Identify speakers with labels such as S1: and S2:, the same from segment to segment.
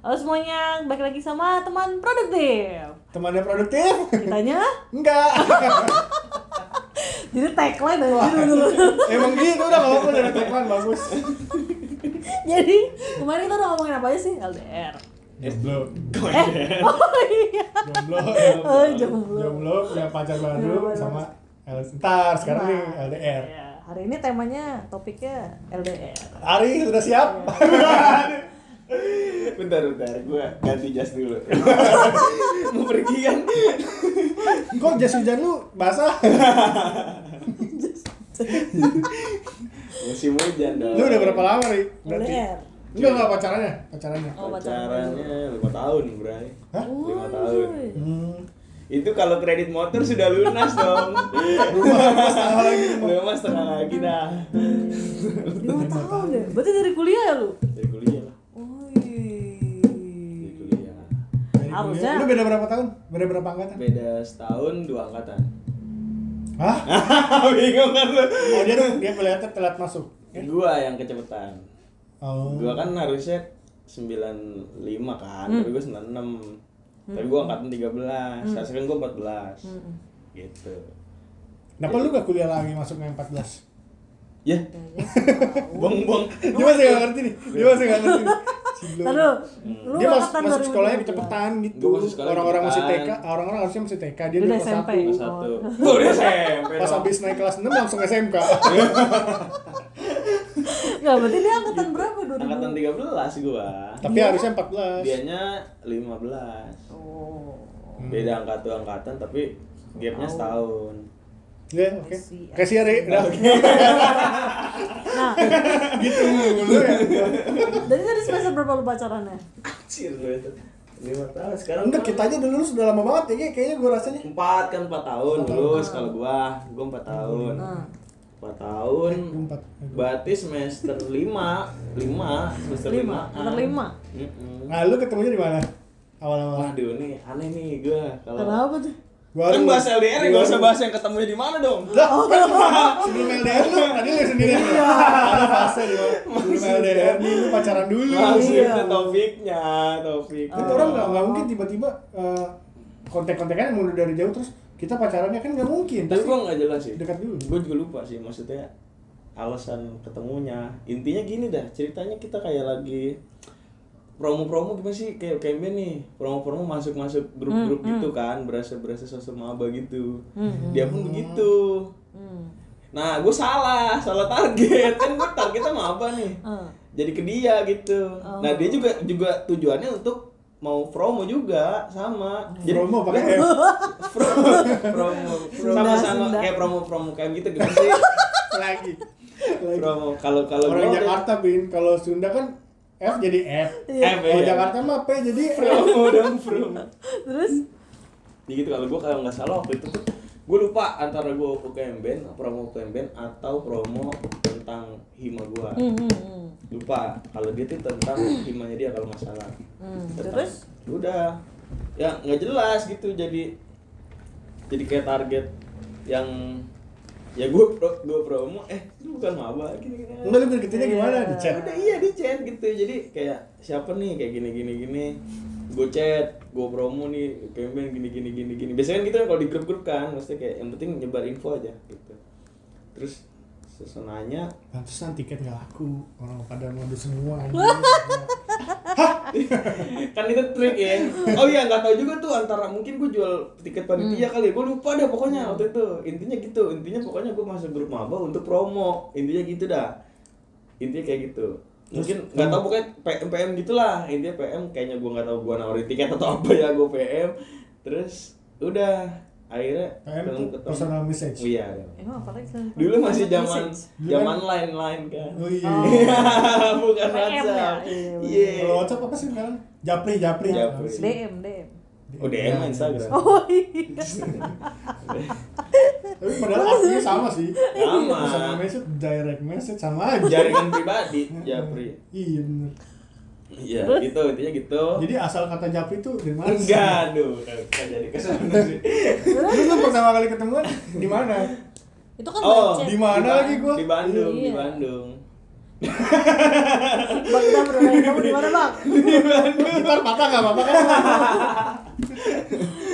S1: Halo semuanya, balik lagi sama teman produktif.
S2: Temannya produktif?
S1: Kitanya
S2: Enggak.
S1: jadi tagline aja dulu dulu.
S2: Emang gitu udah kalau aku dari tagline bagus.
S1: jadi kemarin kita udah ngomongin apa aja sih LDR?
S2: Jomblo.
S1: Eh, oh iya.
S2: Jomblo. ya,
S1: Oh, jomblo.
S2: Jomblo punya pacar
S1: Jomblo.
S2: baru sama L- Ntar sekarang nih
S1: Nah,
S2: LDR.
S1: iya. Hari ini temanya topiknya LDR.
S2: Ari sudah siap?
S3: Bentar, bentar, gue ganti jas dulu Mau pergi kan?
S2: Iya. Kok jas hujan lu basah?
S3: Musim hujan dong
S2: Lu udah berapa lama, Ri? Berarti.
S1: LDR.
S2: Enggak enggak pacarannya, pacarannya.
S1: Oh, pacaran
S3: Pacarannya 5 tahun, Bray
S2: Hah?
S3: Lima tahun.
S1: Woi.
S2: Hmm.
S3: Itu kalau kredit motor sudah lunas dong
S2: Rumah setahun lagi.
S3: Rumah setengah lagi dah
S1: Lima tahun ya? Berarti dari kuliah ya lu? Iya,
S3: Dari kuliah lah Dari
S1: Wih.
S3: kuliah
S2: Dari
S1: Harusnya-
S2: kuliah. Lu beda berapa tahun? Beda berapa angkatan?
S3: Beda setahun, dua angkatan
S2: Hah?
S3: Bingung kan lu?
S2: Oh, dia dia kelihatan telat masuk.
S3: Gua yang kecepatan
S2: Oh.
S3: Gua kan harusnya 95 kan, tapi gua 96 Tapi gua angkatan 13, sekarang gua 14
S1: Mm-mm.
S3: Gitu
S2: Kenapa lu gak kuliah lagi masuk yang 14?
S3: Ya,
S1: Kayaknya
S3: buang-buang
S2: Dia masih gak ngerti nih.
S3: Iya.
S2: Dia masih gak ngerti. nih. Si Blue.
S1: Tahu. Lu
S2: dia masuk,
S1: angkatan
S2: masuk
S1: 2012.
S2: sekolahnya kecepatan gitu.
S3: Gua masuk sekolah
S2: Orang-orang masih TK,
S3: kecepatan.
S2: orang-orang harusnya masih TK dia
S1: Dia
S2: dulu
S1: udah
S2: kelas
S1: SMP.
S2: satu.
S3: Kelas satu
S1: Oh.
S3: Gua udah SMP
S2: Pas
S3: dong.
S2: habis naik kelas 6 langsung SMK.
S3: Iya.
S1: Nggak, berarti dia angkatan berapa? 2000?
S3: Angkatan 13 gua
S2: Tapi
S1: Iya.
S2: harusnya 14.
S3: Dianya 15
S1: Oh.
S2: Hmm.
S3: Beda angkat dua angkatan tapi gapnya setahun
S2: Iya, oke.
S1: Kasih.
S2: Kasih ya, Re. Udah.
S1: Nah,
S2: gitu dulu ya.
S1: dari tadi semester berapa lu pacarannya?
S3: Anjir lu itu 5 tahun sekarang
S2: Enggak, kita aja dulu sudah lama banget ya, Ge. kayaknya gue rasanya.
S3: empat kan empat tahun
S2: Empat
S3: lulus kalau gua gua empat tahun
S1: Hmm.
S3: empat tahun
S2: Eh, gua empat.
S3: berarti semester lima lima semester
S1: Lima,
S3: lima
S1: semester lima.
S2: Nah, lu ketemunya di mana? Awal-awal.
S3: waduh nih aneh nih gua kalau
S1: Kenapa tuh?
S2: Gua
S3: kan
S2: harus-
S3: bahas LDR
S2: gua
S3: ya gak usah
S2: harus-
S3: bahas yang ketemunya di mana dong
S2: Lah, sebelum LDR lu tadi lu sendiri.
S1: Iya.
S2: Ada fase di mana? Sebelum LDR nih lu pacaran dulu.
S1: Iya.
S3: Maksudnya topiknya, topik.
S2: Kan iya. orang nggak nggak mungkin tiba-tiba eh, kontak-kontakan mulai dari jauh terus kita pacarannya kan nggak mungkin.
S3: Tapi
S2: Pasti
S3: gua nggak jelas sih.
S2: dekat dulu.
S3: Gua juga lupa sih maksudnya alasan ketemunya. Intinya gini dah, ceritanya kita kayak lagi promo-promo gimana sih kayak KMB nih promo-promo masuk-masuk grup-grup gitu kan berasa-berasa sosok maba gitu dia pun begitu
S1: Hmm.
S3: nah gue salah salah target kan gue targetnya maba nih
S1: Eh,
S3: jadi ke dia gitu nah dia juga juga tujuannya untuk mau promo juga sama jadi
S2: Promo pakai F.
S3: promo promo sama sama kayak promo promo kayak gitu gimana sih
S2: lagi. Lagi.
S3: promo kalau kalau
S2: Orang
S3: gua
S2: Jakarta bin kalau Sunda kan F jadi F.
S3: Iya. F,
S2: Kalau
S3: iya.
S2: Jakarta mah P jadi
S3: udah-
S2: F.
S3: promo dong promo
S1: Terus?
S3: jadi gitu kalau gua kalau nggak salah waktu itu tuh gue lupa antara gua UKM band promo UKM band atau promo tentang hima gua
S1: Hmm, hmm, hmm.
S3: lupa kalau dia tuh tentang himanya dia kalau nggak salah
S1: Hmm,
S3: Tentang-
S1: terus?
S3: udah ya nggak jelas gitu jadi jadi kayak target yang ya gue pro gue promo eh lu bukan maba gini gini
S2: Enggak lu deketinnya gimana di chat?
S3: udah iya di chat gitu jadi kayak siapa nih kayak gini gini gini gue chat gue promo nih campaign gini gini gini gini biasanya kan gitu kan kalau di grup grup kan maksudnya kayak yang penting nyebar info aja gitu terus sesenanya
S2: Pantesan tiket nggak laku. Orang pada mode semua. anjing.
S3: kan itu trik ya oh iya nggak tahu juga tuh antara mungkin gue jual tiket panitia
S2: Hmm.
S3: kali gue lupa deh pokoknya waktu itu intinya gitu intinya pokoknya gue masuk grup maba untuk promo intinya gitu dah intinya kayak gitu mungkin nggak tahu pokoknya PM PM gitulah intinya PM kayaknya gue nggak tahu gue nawarin tiket atau apa ya gue PM terus udah akhirnya
S2: PM
S3: belum
S2: tuh personal message.
S3: iya
S1: Emang apa lagi?
S3: dulu masih zaman
S2: Dulu
S3: zaman line line kan
S2: Oh iya.
S3: bukan
S1: PM ya?
S3: WhatsApp
S1: Iya,
S3: iya
S2: Kalau WhatsApp apa sih sekarang? Japri, Japri.
S3: Japri.
S1: DM, DM.
S3: Oh, DM Instagram.
S1: Oh iya.
S2: Tapi padahal artinya sama sih. Personal
S3: sama
S2: message, direct message sama aja.
S3: jaringan pribadi Japri
S2: Iya bener.
S3: Ya, iya gitu intinya gitu
S2: Jadi asal kata Japri itu dari mana? sih?
S3: enggak aduh kan jadi kesana sih
S2: Lu tuh pertama kali ketemu di mana?
S1: Itu kan
S3: Oh,
S1: baca.
S2: di mana
S3: Di Ban-
S2: lagi gua?
S3: di Bandung di
S1: Iya.
S3: Bandung
S1: Bang, kita bermain kamu di mana bang?
S2: Gitar patah nggak apa-apa kan?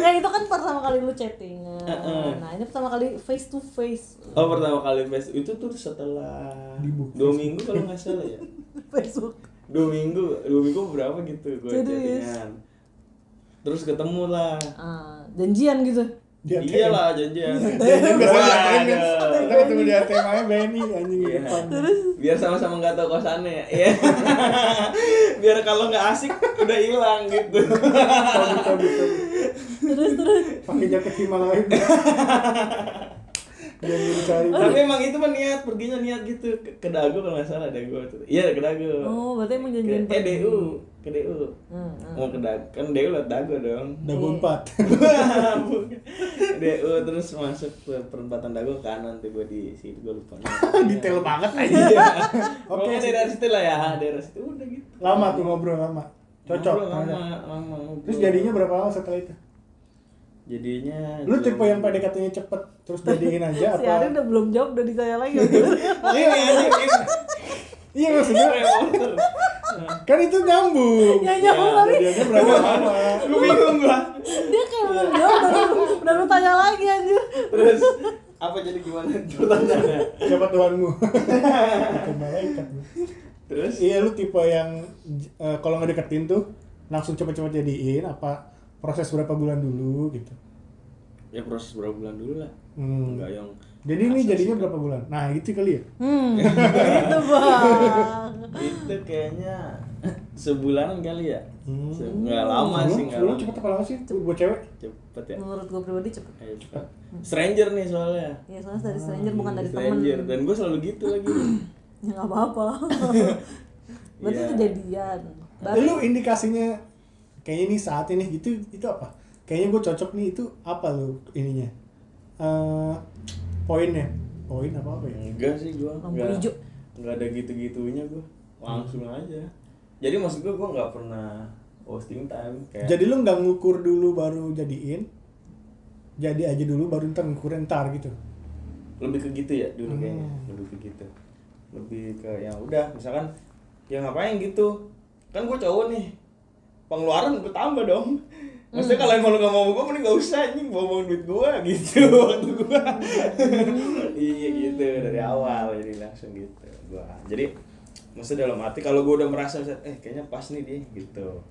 S1: Nah itu kan pertama kali lu chatting.
S3: Heeh.
S1: Nah ini pertama kali face to face.
S3: Oh pertama kali face itu tuh setelah
S2: Dibuka.
S3: dua minggu kalau nggak salah ya.
S1: Facebook.
S3: Dua minggu, dua minggu berapa gitu gue
S1: Serius?
S3: chattingan. Terus ketemu lah.
S1: Ah, janjian gitu.
S2: Dia
S3: Iya lah janjian.
S2: Dia biasanya
S3: Waduh.
S2: ngatain kan. Kita ketemu di ATM aja Benny anjing di
S3: Iya.
S2: depan.
S3: Biar sama-sama nggak tahu kosannya. Iya. Biar kalau nggak asik udah hilang gitu.
S2: Tabu, tabu, tabu.
S1: Terus terus.
S2: Pakai jaket Himalayan. Dia mencari.
S3: Tapi emang itu mah niat perginya niat gitu ke, ke Dago kalau nggak salah Dago itu. Iya ke Dago.
S1: Oh berarti emang
S3: Ke,
S1: janjian.
S3: eh DU, ke DU.
S1: Hmm, hmm.
S3: Mau ke Dago, kan DU lewat Dago dong.
S2: Dago empat.
S3: Bukan. DU terus masuk ke perempatan Dago kanan tuh gue di situ gue lupa.
S2: Detail banget aja.
S3: Iya.
S2: Oke.
S3: Oke, daerah situ lah ya, daerah situ udah gitu.
S2: Lama tuh ngobrol lama. Cocok.
S3: Ngobrol lama,
S2: ternyata.
S3: lama. ngobrol.
S2: Terus jadinya berapa lama setelah itu?
S3: Jadinya
S2: Lu
S3: dua-
S2: tipe yang PDKT-nya cepet terus jadiin aja
S1: Si Ari
S2: apa?
S1: udah belum jawab udah ditanya lagi.
S3: Iya, iya, iya.
S2: Iya maksudnya
S3: Revolver.
S2: kan itu nyambung.
S1: Ya
S3: Iya,
S1: nyambung tapi
S2: Jadinya berapa lama?
S3: Lu bingung gua.
S1: dia kayak belum jawab udah lu- udah lu tanya lagi anjir.
S3: Terus apa jadi gimana pertanyaannya?
S2: Siapa Tuhanmu? Bukan malaikat.
S3: Terus
S2: Iya lu tipe yang j- eh, kalau nggak deketin tuh langsung cepet-cepet jadiin apa proses berapa bulan dulu gitu.
S3: ya proses berapa bulan dulu lah.
S2: Hmm.
S3: Enggak yang
S2: Jadi ini jadinya berapa bulan? Nah gitu kali ya.
S1: Hmm. Gitu bang.
S3: itu kayaknya sebulanan kali ya.
S2: Hmm.
S3: Se- Nggak lama
S2: Sebelum
S3: sih, nggak
S2: sebelum
S3: lama.
S2: cepet apa Hmm. lama sih? Buat cewek?
S3: Cepet ya.
S1: Menurut gue pribadi cepet.
S3: Ayo cepet. Stranger nih soalnya.
S1: Ya soalnya dari stranger bukan dari temen.
S3: Hmm, Stranger dan gue selalu gitu lagi.
S2: Hmm.
S1: Ya nggak apa-apa. Berarti
S3: Iya.
S1: itu jadian.
S2: Lu
S1: Baru
S2: indikasinya kayaknya ini saat ini gitu itu apa? Kayaknya gue cocok nih itu apa lu ininya? Eh poinnya? Poin apa apa ya?
S3: Enggak sih gue.
S1: Lampu hijau.
S3: Enggak ada gitu-gitunya gue. Langsung aja. Jadi maksud gue gue nggak pernah wasting time kayak.
S2: Jadi lu nggak ngukur dulu baru jadiin? Jadi aja dulu baru ntar ngukurin ntar gitu.
S3: lebih ke gitu ya dulu
S2: Hmm.
S3: kayaknya lebih ke gitu lebih ke ya udah misalkan ya ngapain gitu kan gue cowok nih pengeluaran gue tambah dong maksudnya kalau emang lu gak mau gue mending gak usah anjing bawa bawa duit gue gitu waktu gue iya gitu dari awal jadi langsung gitu gue jadi maksudnya dalam hati kalau gue udah merasa misalnya, eh kayaknya pas nih dia gitu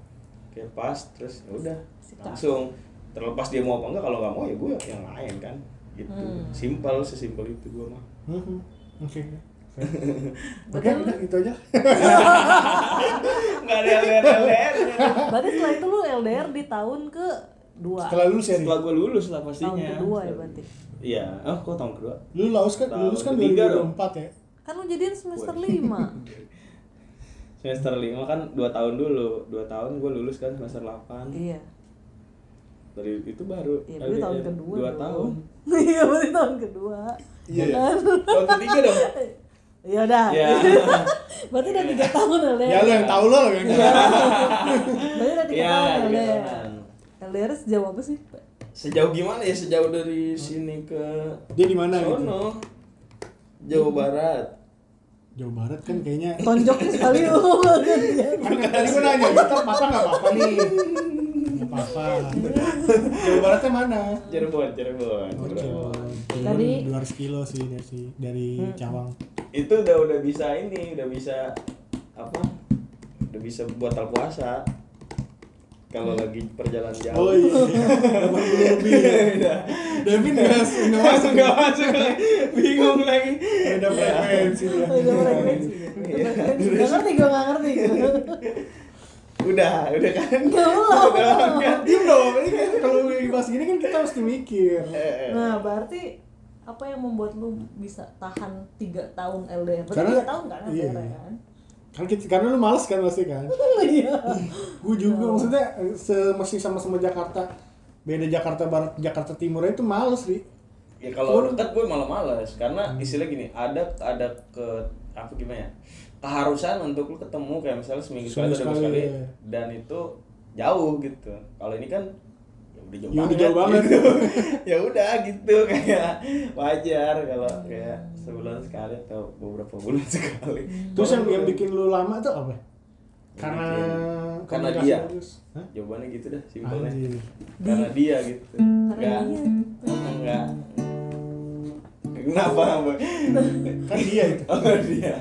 S3: kayak pas terus ya udah langsung terlepas dia mau apa enggak kalau nggak mau ya gue yang lain kan gitu
S1: Hmm.
S3: simpel sesimpel itu gue mah
S2: Mhm. Oke. Oke,
S1: Betul.
S2: udah itu aja.
S3: nggak ada LDR LDR
S1: berarti setelah itu lu LDR di tahun ke dua.
S2: Setelah ya, lu sharing.
S3: setelah gue lulus lah
S1: Tahun
S3: pastinya
S1: kedua ya berarti.
S3: iya oh kok tahun kedua
S2: Lu lulus kan lulus kan
S3: Ketiga dong.
S2: 2024 ya.
S1: Kan lu jadian semester
S3: Waduh.
S1: lima.
S3: semester lima kan dua tahun dulu dua tahun gue lulus kan semester delapan
S1: Iya.
S3: dari itu baru
S1: Iya, berarti tahun
S3: LDR.
S1: kedua.
S3: dua
S1: dong.
S3: tahun
S1: Iya, berarti tahun kedua.
S2: Iya,
S1: Ya
S2: iya.
S1: kan?
S3: tahun ketiga dong
S1: Ya udah.
S3: ya
S1: Berarti udah tiga tahun LDR.
S2: Ya lu yang tahu lo lo yang
S1: Iya.
S2: tahu.
S1: Berarti udah tiga
S3: Ya,
S1: tahun
S3: tiga
S1: LDR.
S3: tahunan.
S1: LDR sejauh apa sih?
S3: sejauh gimana ya sejauh
S1: Hmm.
S3: dari sini ke
S2: Dia di mana gitu?
S3: Sono Jawa
S1: Hmm.
S3: Barat
S2: Jawa Barat kan kayaknya
S1: Tonjok sekali Oh, iya. lu.
S2: Kan tadi gue nanya, kita masa nggak apa-apa nih? Nggak apa-apa. Jawa Baratnya mana?
S3: Cirebon, Cirebon, Cirebon.
S1: Tadi. Hmm.
S2: Tadi 200 kilo sih dari si- dari Cawang.
S3: Itu udah udah bisa ini, udah bisa apa? Udah bisa batal puasa. Kalau lagi perjalanan jauh.
S2: Hmm. Oh iya, dapat kilo lebih. ya. Devin nggak nggak masuk Iya.
S3: Masuk nggak masuk lagi. bingung lagi.
S2: Beda frekuensi dia.
S1: Udah frekuensi.
S3: Iya.
S1: Gak ngerti, gue gak ngerti.
S2: Iya.
S3: Udah, udah kan.
S1: Gak belum.
S2: Diem dong, ini kan kalau lagi bahas gini kan kita mesti mikir.
S3: Eh, eh.
S1: Nah, berarti apa yang membuat lu bisa tahan 3 tahun LDR? Berarti
S2: Karena-
S1: 3 tahun kan
S2: iya.
S1: LDR kan?
S2: Kan kita, karena lu males kan pasti kan.
S1: Iya.
S2: Gue juga maksudnya se- masih sama-sama Jakarta. Beda Jakarta Barat, Jakarta Timur itu males sih.
S3: Ya kalau
S2: Pun- Hmm.
S3: dekat gue malah males karena istilah gini, ada ada ke apa gimana ya? Keharusan untuk lu ketemu kayak misalnya seminggu sekali
S2: Seminggu
S3: atau dua
S2: sekali,
S3: sekali
S2: iya.
S3: dan itu jauh gitu. Kalau ini kan ya udah jauh
S2: Ya udah
S3: banget,
S2: jauh banget.
S3: gitu. ya udah gitu kayak wajar kalau
S2: Hmm.
S3: kayak sebulan sekali atau beberapa bulan sekali
S2: Terus yang
S3: Kalau
S2: yang
S3: gue-
S2: bikin lu lama tuh apa? Karena
S3: Bikin- karena
S2: komunikasi
S3: dia.
S2: bagus. Hah?
S3: jawabannya gitu dah simpelnya
S2: Anjir.
S3: karena dia gitu
S1: Karena
S2: Iya.
S3: enggak
S1: dia.
S3: enggak kenapa Bang?
S2: Kan dia itu.
S3: oh dia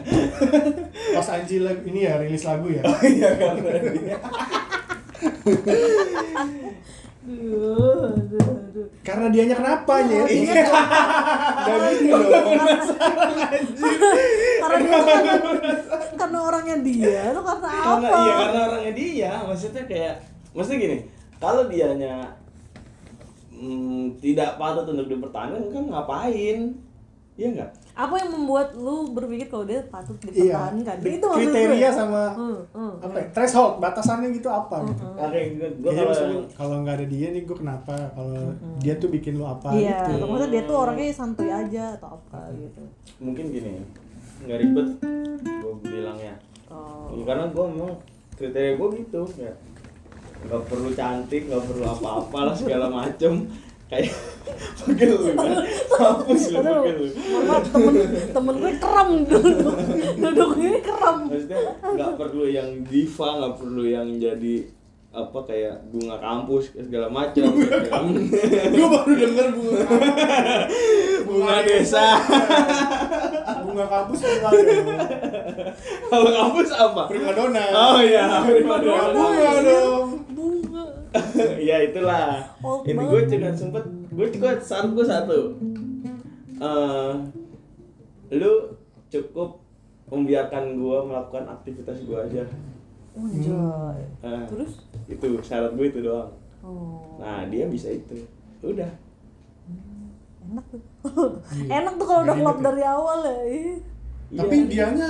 S2: Pas Anji lagu ini ya rilis lagu ya.
S3: oh iya karena dia
S1: Duh, aduh, aduh.
S2: Karena dianya kenapa ya?
S1: Iya.
S2: Gak gitu dong.
S1: Karena karena, karena orangnya dia, lo karena
S3: karena
S1: apa?
S3: iya karena orangnya dia maksudnya kayak maksudnya gini kalau dianya mm, tidak patut untuk dipertahankan kan ngapain Iya nggak
S1: Apa yang membuat lu berpikir kalau dia patut
S2: Iya.
S1: dipertahankan?
S2: Di-
S1: Itu maksud
S2: Kriteria
S1: gue.
S2: sama
S1: Hmm, hmm.
S2: apa ya? Threshold, batasannya gitu apa gitu.
S3: Oke, gue gue
S2: Jadi misalnya
S3: kalau
S2: kalau nggak ada dia nih gue kenapa? Kalau dia tuh bikin lu apa
S1: Iya,
S2: gitu.
S1: atau maksudnya dia tuh orangnya santuy aja atau apa gitu.
S3: mungkin gini nggak ribet gue bilangnya
S1: Oh.
S3: Ya, karena gue memang kriteria gue gitu ya nggak perlu cantik nggak perlu apa-apa lah segala macem kayak pegel lu kan hapus lu
S1: Aduh,
S3: pegel lu
S1: mohon maaf, temen temen gue kerem duduk duduknya ini kerem.
S3: maksudnya nggak perlu yang diva nggak perlu yang jadi apa kayak bunga kampus segala macam
S2: gue baru denger bunga
S3: bunga desa
S2: bunga kampus bunga dong.
S3: kalau kampus apa
S2: primadona.
S3: oh iya
S2: Primadona bunga dong.
S1: iya. Bunga.
S3: ya itulah
S1: Old
S3: ini gue
S1: banget.
S3: juga sempet gue juga saran gue satu Eh, lu cukup membiarkan gue melakukan aktivitas gue aja
S1: Anjay.
S3: Eh,
S1: Oh, Terus?
S3: itu syarat gue itu doang
S1: Oh.
S3: nah dia bisa itu udah
S1: Enak tuh. Enak tuh kalau
S2: Iya.
S1: udah klop dari awal ya. Ih.
S2: Tapi
S3: Iya.
S2: dianya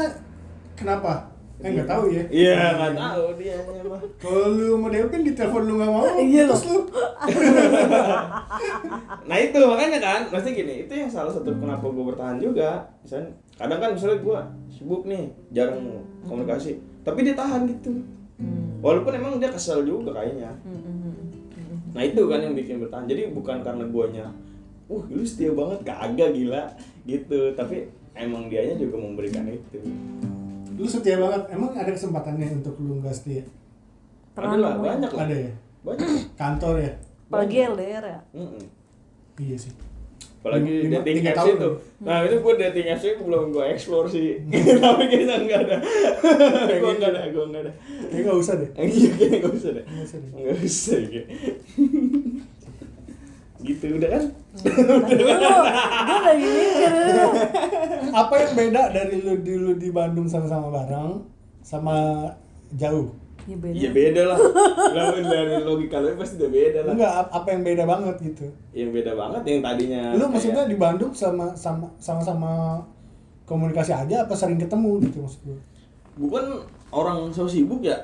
S2: kenapa? Eh nggak tahu ya.
S3: iya nggak tahu dia mah
S2: Kalau lu mau DM kan di telepon lu nggak mau.
S1: Iya loh.
S2: Terus lu
S3: nah itu makanya kan maksudnya gini itu yang salah satu kenapa gue bertahan juga misalnya kadang kan misalnya gue sibuk nih jarang komunikasi tapi dia tahan gitu walaupun emang dia kesel juga kayaknya Nah itu kan yang bikin bertahan. Jadi bukan karena guanya, uh lu setia banget kagak gila gitu. Tapi emang dianya juga memberikan itu.
S2: lu setia banget. Emang ada kesempatannya untuk lu nggak setia?
S1: Pernah
S3: Ada lah
S1: nemuin?
S3: banyak lah.
S2: Ada ya.
S3: Banyak.
S2: Kantor ya.
S1: Apalagi LDR ya.
S3: Mm-mm.
S2: Iya sih.
S3: Apalagi
S2: Lima-
S3: dating
S2: tiga
S3: apps
S2: tahun
S3: itu.
S2: tuh.
S3: Nah itu gue dating apps itu belum gue explore sih. Tapi kayaknya nggak ada. gue nggak ada. Gue nggak ada.
S2: Kayaknya nggak usah deh.
S3: Iya kayaknya nggak usah deh.
S2: Nggak usah deh.
S3: Nggak usah kayak. gitu udah kan?
S1: Tadi dulu, gue lagi mikir.
S2: Apa yang beda dari lu dulu di Bandung sama-sama bareng sama jauh?
S1: Ya beda.
S3: Iya beda lah. Lalu dari logika lu pasti udah beda Iya lah.
S2: Enggak, ap- apa yang beda banget gitu?
S3: yang beda banget yang tadinya
S2: Lu
S3: kayak-
S2: maksudnya di Bandung sama sama sama-sama komunikasi aja apa sering ketemu gitu maksud gua?
S3: gue kan orang so sibuk ya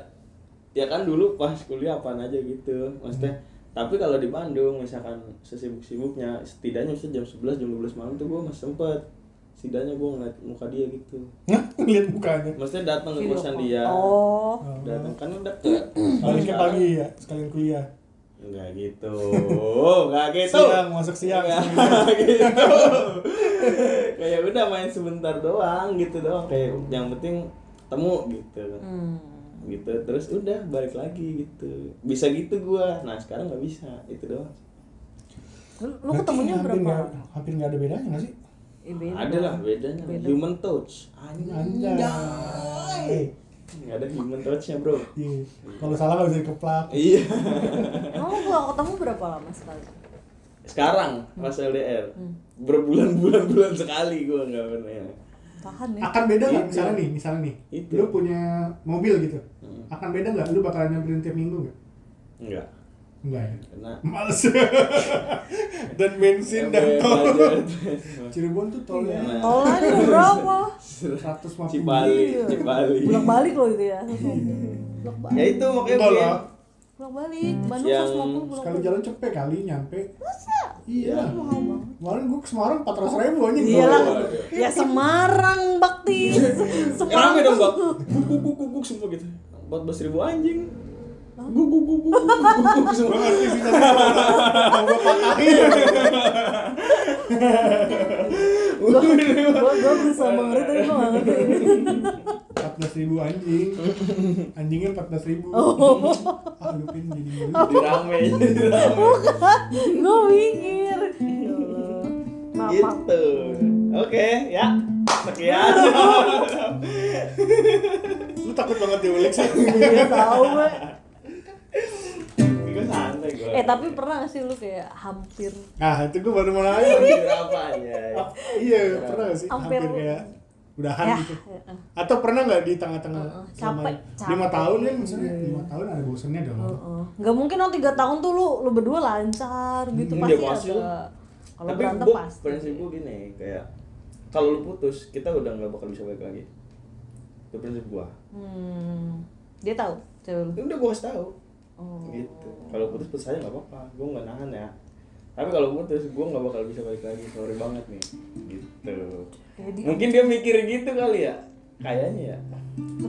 S3: ya kan dulu pas kuliah apaan aja gitu maksudnya
S2: Hmm.
S3: tapi kalau di Bandung misalkan sesibuk-sibuknya setidaknya bisa jam 11 jam 12 malam tuh gue masih sempet setidaknya gue ngeliat muka dia gitu
S2: Nah, ngeliat mukanya.
S3: maksudnya datang ke
S1: Video
S3: kosan
S1: call.
S3: dia
S1: Oh.
S3: datang kan deket Kalau
S2: Baliknya
S3: sekarang-
S2: Hmm. pagi ya, sekalian kuliah.
S3: Enggak gitu. Enggak gitu.
S2: Siang, masuk siang.
S3: Enggak gitu. Kayak udah main sebentar doang gitu doang. Kayak yang penting ketemu gitu.
S1: Hmm.
S3: Gitu. Terus udah balik lagi gitu. Bisa gitu gua. Nah, sekarang nggak bisa. Itu doang.
S1: Lu lu
S2: Berarti
S1: ketemunya
S2: hampir
S1: berapa?
S2: nggak- hampir nggak ada bedanya nggak sih?
S1: Eh, beda.
S3: Ada lah bedanya.
S1: Beda.
S3: Human touch. Anjay.
S2: Anjay. Eh,
S3: Enggak ada human touchnya, Bro.
S2: Iya. Kalau salah nggak bisa dikeplak.
S3: Iya.
S1: Kamu kalau ketemu berapa lama sekali?
S3: Sekarang pas LDR berbulan-bulan-bulan sekali gua nggak pernah.
S1: Tahan ya.
S2: Akan beda nggak
S3: Itu.
S2: misalnya nih, misalnya nih,
S3: Itu.
S2: lu punya mobil gitu,
S3: Hmm.
S2: akan beda nggak? Lu bakalan nyamperin tiap minggu nggak?
S3: Enggak.
S2: Enggak ya.
S3: Karena
S2: Males. dan bensin dan
S3: Ember,
S2: tol.
S3: budget.
S2: Cirebon tuh tolnya
S3: Iya.
S1: Tolnya udah berapa?
S2: 150
S3: Cipali,
S1: Iya.
S3: Cipali.
S1: Bolak balik loh itu ya. Bolak
S3: Ya
S1: balik.
S3: itu makanya
S2: Enggak
S3: gue.
S2: lah.
S1: Bolak balik. Bandung
S3: Yang
S1: 150 bolak
S2: Sekali
S1: balik.
S2: jalan cepet kali nyampe.
S1: Masa?
S2: Iya.
S1: Mahal banget.
S2: Kemarin gua ke Semarang 400 ribu
S3: Oh,
S2: aja.
S1: Iyalah.
S3: Waduh.
S1: Ya Semarang bakti.
S3: Rame
S1: Semarang.
S3: dong bak. Kukuk kukuk semua gitu. 14 ribu anjing. Gu gu gu gu gu gu gu, gu semua.
S2: ngerti sih tapi mau gue patahin
S1: Gua gue berusaha mengerti tapi gue nggak ngerti.
S2: empat belas ribu anjing anjingnya empat belas ribu
S1: Oh.
S2: ah lu pin jadi malu
S3: Jadi rame, jadi rame.
S1: gue mikir. Ya Allah. Maaf, maaf.
S3: Gitu. Oke, ya. Sekian.
S2: lu takut banget diulik sih
S3: Gitu.
S1: Iya tahu gue.
S3: Gue santai gue.
S1: Eh tapi pernah gak sih lu kayak hampir
S2: ah itu gue baru mau nanya
S3: berapa anjay?
S1: Oh,
S2: Ah, iya pernah sih hampir,
S1: Hampir.
S2: kayak udahan
S1: ya
S2: gitu atau pernah nggak di tengah-tengah
S1: Heeh,
S2: selama
S1: capek, Iya. Oh.
S2: lima
S1: capek.
S2: tahun kan maksudnya lima tahun ada bosennya dong
S1: Heeh. nggak mungkin dong tiga tahun tuh lu lu berdua lancar gitu
S3: Hmm,
S1: pasti
S3: ya pasti
S1: ada.
S3: lah.
S1: Kalau
S3: Tapi
S1: berantem
S3: gua,
S1: pasti.
S3: prinsip gue gini, kayak kalau lu putus, kita udah nggak bakal bisa balik lagi. Itu prinsip gua.
S1: Hmm. Dia tahu cewek lu.
S3: Ya udah gua kasih tahu.
S1: Oh.
S3: Gitu. Kalau putus putus aja nggak apa-apa. Gua nggak nahan ya. Tapi kalau putus, gua nggak bakal bisa balik lagi. Sorry banget nih. Gitu.
S1: Jadi
S3: Mungkin dia mikir gitu kali ya. Kayaknya ya.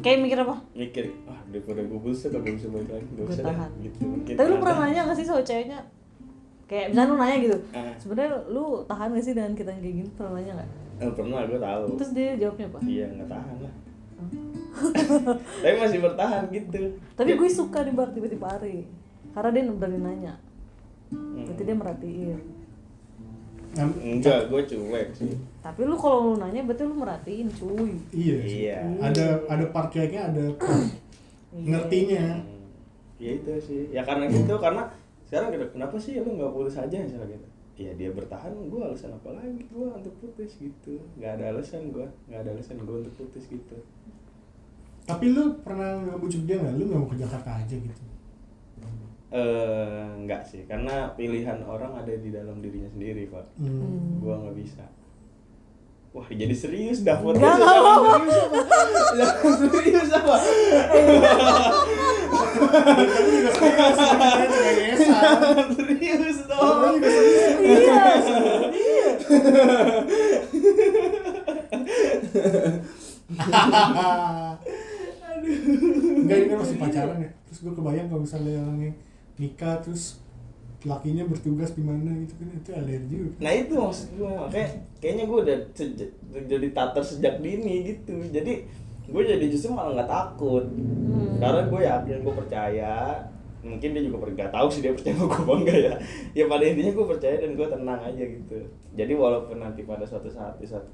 S1: kayak mikir apa?
S3: Mikir, ah daripada gue buset, gak bisa balik lagi. Gak
S1: Gua
S3: usah deh.
S1: tahan.
S3: Gitu. Mungkin
S1: Tapi lu
S3: ada.
S1: pernah nanya gak sih sama ceweknya? Kayak misalnya lu nanya gitu.
S3: Ah.
S1: Sebenarnya lu tahan gak sih dengan kita yang kayak gini? Pernah nanya gak?
S3: Eh, pernah, gue tahu.
S1: Terus dia jawabnya apa?
S3: Iya, nggak tahan lah.
S1: Oh.
S3: Tapi masih bertahan gitu.
S1: Tapi gue suka nih Bar tiba-tiba Ari. Karena dia berani nanya.
S3: Hmm.
S1: Berarti dia merhatiin.
S2: Nah,
S3: Enggak, gue cuek sih.
S1: Tapi lu kalau lu nanya berarti lu merhatiin cuy.
S2: iya sih.
S3: Iya.
S2: ada ada part cueknya ada part ngertinya
S3: Hmm. Ya itu sih. Ya karena
S1: Hmm.
S3: gitu, karena sekarang kena- kenapa sih lu nggak putus aja misalnya gitu? Ya dia bertahan, gue alasan apa lagi gue untuk putus gitu. Nggak ada alasan gue, nggak ada alasan gue untuk putus gitu.
S2: tapi lu pernah ngebujuk dia nggak lu nggak mau ke Jakarta aja gitu
S3: Eh nggak sih, karena pilihan orang ada di dalam dirinya sendiri pak.
S2: hmm.
S3: Gua nggak bisa. Wah jadi serius dah podcast.
S1: Nggak, nggak
S3: Jangan serius apa? Jangan serius apa?
S2: Kan
S3: Jangan serius dong.
S1: Iya.
S2: Enggak ini kan masih pacaran ya. Terus gue kebayang kalau misalnya yang nikah terus lakinya bertugas di mana gitu kan itu alergi juga.
S3: Nah itu maksud gue makanya kayaknya gue udah seje- jadi tatar sejak dini gitu. Jadi gue jadi justru malah nggak takut. Karena gue yakin gue percaya. Mungkin dia juga per- nggak tahu sih dia percaya sama gue apa enggak ya. Ya pada intinya gue percaya dan gue tenang aja gitu. Jadi walaupun nanti pada suatu saat di satu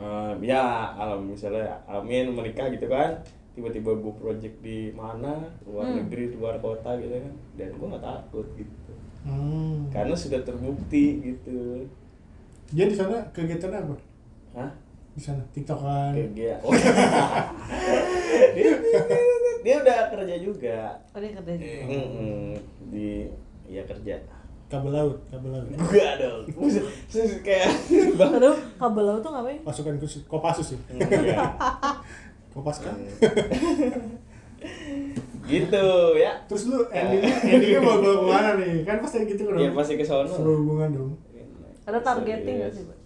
S3: eh, ya alam misalnya amin menikah gitu kan tiba-tiba gue project di mana luar
S1: Hmm.
S3: negeri luar kota gitu kan dan gue nggak takut gitu
S2: Hmm.
S3: karena sudah terbukti gitu
S2: Dia di sana kegiatannya apa?
S3: Hah?
S2: Di sana tiktokan.
S3: Kerja. Oh. dia, dia udah kerja juga.
S1: Oh dia kerja juga.
S3: Mm-mm. Di ya kerja.
S2: Kabel laut, kabel laut.
S3: Enggak dong. Buset, buset, kayak banget.
S1: Aduh, kabel laut tuh ngapain?
S2: Pasukan khusus, Kopassus ya.
S3: Hmm.
S2: Kopas kan.
S3: gitu ya.
S2: Terus lu endingnya, endingnya mau bawa kemana nih? Kan pasti gitu kan.
S3: Ya pasti ke sono.
S2: Serhubungan dong.
S1: Ada targeting nggak sih,
S3: Serius.
S1: Pak?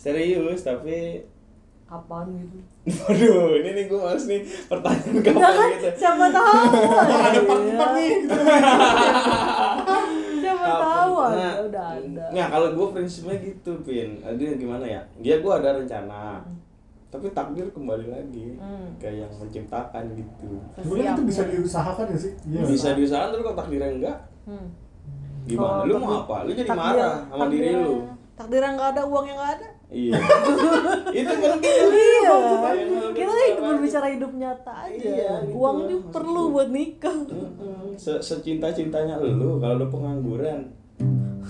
S3: Serius, tapi
S1: Apaan gitu?
S3: Waduh, ini nih gue males nih pertanyaan kamu
S1: Jangan,
S3: gitu.
S1: kan? siapa tahu.
S2: Wah, ada
S1: Oh,
S2: part-part
S1: Iya.
S2: nih. gitu.
S1: Siapa
S3: Kapan?
S1: tahu
S3: Nah,
S1: ada udah ada.
S3: Nah, kalau gue prinsipnya gitu, Pin. Jadi gimana ya? Dia gue ada rencana. Tapi takdir kembali lagi.
S1: Hmm.
S3: Kayak yang menciptakan gitu.
S2: Sebenarnya itu bisa
S1: Siap.
S2: diusahakan ya sih? Iya.
S3: Bisa diusahakan tapi kalau takdirnya enggak,
S1: Hmm.
S3: gimana?
S1: Kalau
S3: lu mau
S1: takdir-
S3: apa? Lu jadi
S1: takdir-
S3: marah sama diri
S1: takdir-
S3: lu.
S1: Takdir yang nggak ada, uang yang nggak ada.
S3: Iya. itu penting.
S1: Iya,
S3: Iya, kalau
S1: kita
S3: gitu,
S1: kan berbicara hidup nyata aja.
S3: Iya, gitu.
S1: Uang juga perlu buat nikah.
S3: Mm-mm. Se- Secinta-cintanya lu kalau lu pengangguran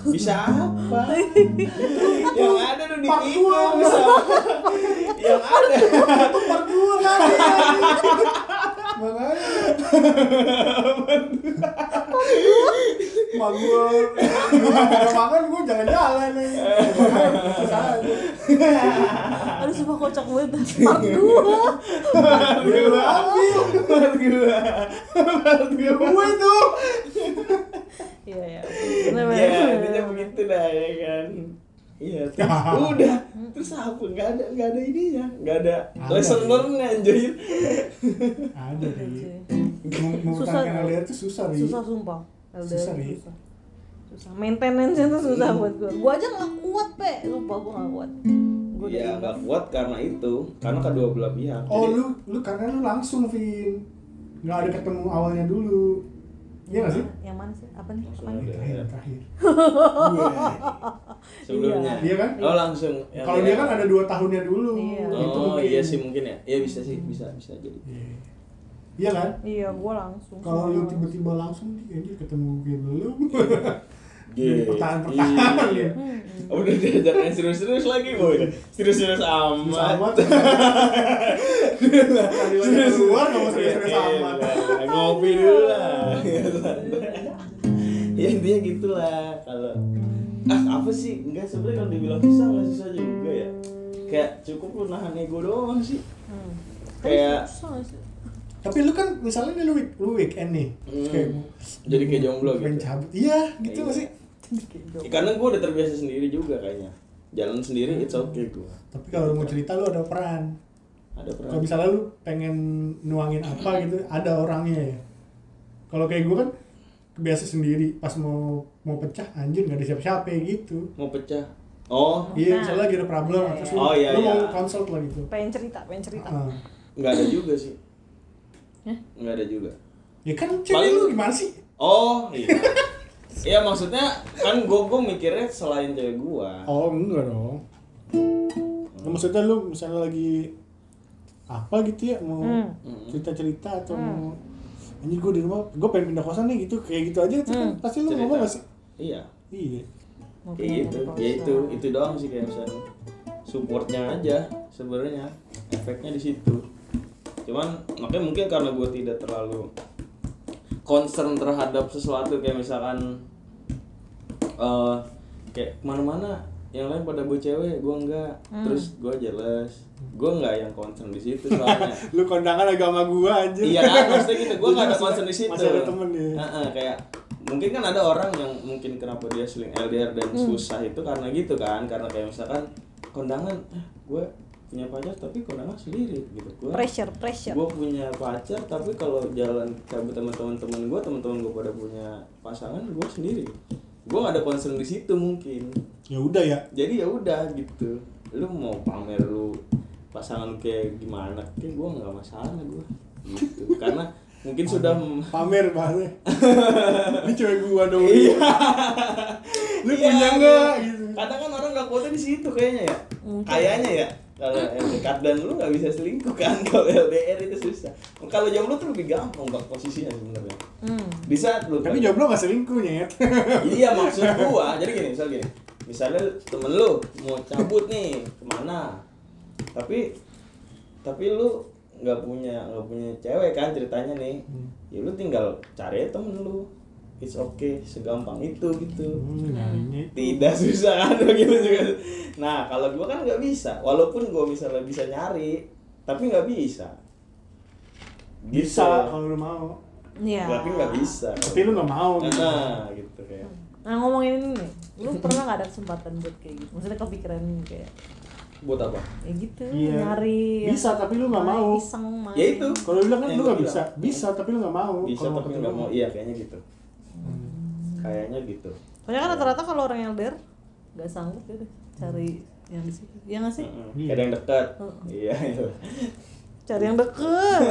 S3: bisa apa? yang ada lu ditikung bisa. yang ada
S2: Makanya. Mak gue Kalau makan gue jalan-jalan nih Susah aja.
S1: Aduh, sumpah kocak banget. Part dua.
S2: Gue lu ambil
S3: part gua part gua
S2: Gue tuh
S1: Iya, iya.
S3: ya intinya begitu dah ya kan iya terus udah terus apa nggak ada nggak ada ininya nggak ada
S2: Ada
S3: lesson
S2: sih.
S3: learn anjir
S2: Ada sih mem- mempertahankan LDR itu susah Ri.
S4: susah sumpah LDR
S2: Susah, Ri. Iya.
S4: susah susah maintenance itu susah buat gue gue aja nggak kuat pe sumpah gue nggak kuat gue
S3: Iya,
S4: dari
S3: nggak kuat karena itu, karena kedua belah pihak.
S2: oh
S3: Jadi-
S2: lu lu karena lu langsung Vin nggak ada ketemu awalnya dulu iya nggak sih
S4: yang mana sih apa nih
S3: Langsung
S4: apa nih?
S2: terakhir
S3: LDR.
S2: terakhir
S3: sebelumnya.
S2: Iya kan?
S3: Oh langsung.
S2: Iya. kalau dia kan ada dua tahunnya dulu
S4: Iya.
S2: gitu
S3: Oh
S2: mungkin.
S3: iya sih mungkin ya. Iya bisa sih, bisa bisa jadi.
S2: Iya. iya kan
S4: iya gue langsung
S2: kalau lu
S4: Langsung.
S2: tiba-tiba langsung ya dia ketemu gue belum
S3: Iya.
S2: pertahanan-pertahanan ya
S3: Iya. Udah diajak yang serius-serius lagi, boy. Serius-serius
S2: sama
S3: amat.
S2: serius keluar nggak mau serius-serius
S3: Iya,
S2: amat
S3: iya, Ngopi dulu lah. ya intinya gitulah kalau ah apa sih enggak sebenarnya kalau dibilang susah nggak susah juga ya kayak cukup lu nahan ego doang sih
S4: Hmm.
S3: kayak
S1: susah nggak sih?
S2: tapi lu kan misalnya nih lu, week- lu weekend nih
S3: Hmm.
S2: kayak
S3: Jadi kayak jomblo gitu.
S2: pengen cabut iya gitu
S3: Iya.
S2: nggak sih
S3: Ya, karena gue udah terbiasa sendiri juga kayaknya jalan sendiri it's okay gue
S2: tapi kalau lu mau cerita lu ada peran
S3: ada
S2: kalau
S3: pernah
S2: misalnya lu pengen nuangin apa gitu ada orangnya ya kalau kayak gue kan biasa sendiri pas mau mau pecah anjir nggak ada siapa-siapa gitu
S3: mau pecah oh
S2: iya
S4: Nah.
S2: misalnya lagi ada problem
S4: Iya,
S2: terus
S4: iya.
S2: lu,
S3: Oh, iya,
S2: lu
S3: iya.
S2: mau konsult lah gitu
S4: pengen cerita pengen cerita
S2: Ah.
S3: nggak ada juga sih
S1: Hah?
S3: nggak ada juga
S2: ya kan cewek
S3: Paling-
S2: lu gimana sih
S3: oh iya Iya maksudnya kan gue gue mikirnya selain cewek gue
S2: Oh enggak dong. Nah, maksudnya lu misalnya lagi apa gitu ya mau
S4: Hmm.
S2: cerita cerita atau mau anjir gue di rumah gue pengen pindah kosan nih gitu kayak gitu aja itu kan
S4: Hmm.
S2: pasti lu
S3: Cerita.
S2: ngomong gak sih?
S3: iya
S2: Iya.
S4: Mau
S3: kayak gitu
S4: pindah dari kosan.
S3: ya itu itu doang sih kayak misalnya supportnya aja sebenarnya efeknya di situ cuman makanya mungkin karena gue tidak terlalu concern terhadap sesuatu kayak misalkan eh kayak kemana-mana yang lain pada gue cewek gue enggak terus gue jelas gue enggak yang concern di situ soalnya
S2: Lu kondangan agama gue aja.
S3: iya kan maksudnya gitu gue nggak ada
S2: Maksudnya
S3: concern di situ
S2: Masih ada temen ya.
S3: Heeh, kayak mungkin kan ada orang yang mungkin kenapa dia seling LDR dan
S4: Hmm.
S3: susah itu karena gitu kan karena kayak misalkan kondangan eh, gue punya pacar tapi kondangan sendiri gitu gue
S4: pressure pressure
S3: gue punya pacar tapi kalau jalan cabut sama teman-teman gue teman-teman gue pada punya pasangan gue sendiri gue gak ada concern di situ mungkin
S2: Ya udah ya.
S3: jadi ya udah gitu lu mau pamer lu pasangan lu kayak gimana kayak gue nggak masalah gue gitu karena mungkin sudah mem-
S2: Pamer bahasnya. Ini cewek gue dong.
S3: Iya.
S2: Lu punya nggak gitu.
S3: kadang kan orang nggak kuatnya di situ kayaknya ya
S1: Mungkin.
S3: kayaknya ya kalau dekat dan lu nggak bisa selingkuh kan kalau LDR itu susah kalau jomblo tuh lebih gampang nggak posisinya sebenarnya
S4: Hmm.
S3: di saat lu
S2: Tapi jomblo gak selingkuh ya.
S3: iya maksud gua jadi gini misal gini misalnya temen lu mau cabut nih kemana tapi tapi lu nggak punya nggak punya cewek kan ceritanya nih ya lu tinggal cari aja temen lu it's okay segampang itu gitu
S2: Hmm, nyanyi.
S3: tidak susah kan bagi lu juga nah kalau gua kan nggak bisa walaupun gua misalnya bisa nyari tapi nggak bisa Gitu.
S2: Bisa kalau lu mau.
S4: Iya.
S3: tapi nggak bisa
S2: Tapi lu nggak mau. gitu.
S3: nah gitu kayak
S4: Nah ngomongin ini nih, lu pernah gak ada kesempatan buat kayak gitu? Maksudnya kepikiran kayak
S3: buat apa
S4: ya gitu
S2: Iya.
S4: nyari
S2: Bisa, tapi lu nggak
S4: main
S2: mau.
S4: iseng main.
S3: ya itu
S2: Kalau lu bilang kan
S3: Yang
S2: lu
S3: gua
S2: gak bisa,
S3: bilang.
S2: bisa tapi lu gak mau.
S3: bisa
S2: Kalau Hmm.
S3: tapi nggak
S2: ketemu.
S3: mau iya kayaknya gitu kayaknya gitu
S4: Soalnya kan rata-rata kalau orang LDR gak sanggup ya udah cari
S2: Hmm.
S4: yang di situ. Ya nggak sih?
S3: Mm-mm.
S2: Iya.
S3: kadang dekat
S4: Mm-mm.
S3: iya iya.
S4: Cari yang deket.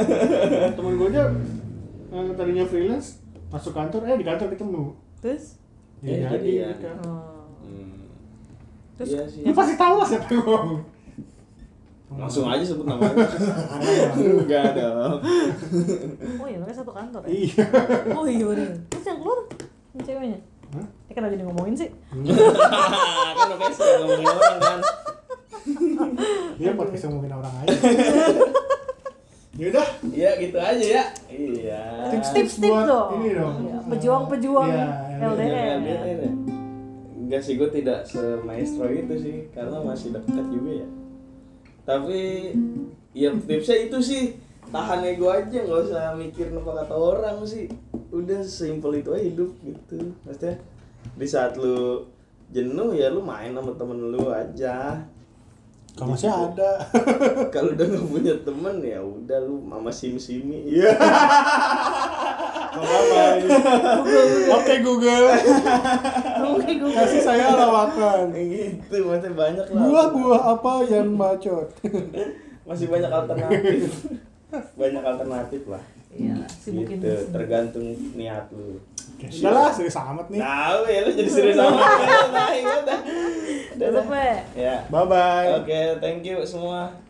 S2: Temen gue aja yang tadinya freelance masuk kantor eh di kantor ketemu.
S4: Terus?
S2: Ya,
S3: Eh,
S2: jadi
S3: jadian.
S2: nikah.
S4: Oh.
S3: Hmm.
S4: Terus-
S3: Iya sih
S2: Lu pasti tahu lah siapa yang ngomong.
S3: langsung aja sebut namanya enggak dong
S4: oh iya mereka satu kantor ya?
S2: Iya.
S4: Oh iya bener. Terus yang keluar? Yang ceweknya?
S2: Hah?
S4: Ya kenapa jadi ngomongin sih?
S3: kan udah biasa ngomongin orang kan
S2: Dia podcast yang ngomongin orang aja. Ya udah,
S3: iya gitu aja ya iya
S4: Tips-tips
S2: Nah, buat
S4: dong.
S2: Ini dong.
S4: Iya, pejuang-pejuang
S2: Iya,
S4: LDR.
S3: Jangan LDR ya. Enggak sih, gue tidak semaestro itu sih Karena masih dekat juga ya Tapi Ya tipsnya itu sih Tahan ego aja, nggak usah mikir apa kata orang sih Udah sesimpel itu aja hidup gitu Maksudnya Di saat lu jenuh ya lu main sama temen lu aja
S2: Kalau masih ada.
S3: kalau udah nggak punya temen ya udah lu mama sim simi iya
S2: Oke Google,
S4: Oke, gue
S2: kasih saya lawakan.
S3: gitu masih banyak lah
S2: Buah-buah apa yang bacot?
S3: masih banyak alternatif banyak alternatif lah
S1: Iya, sibukin
S3: gitu tergantung niat lu
S2: Udah lah, serius amat nih.
S3: tahu ya lu jadi serius sama gue. Udah, udah, udah.
S4: Tutup, Pak.
S3: ya
S2: Bye bye.
S3: oke thank you semua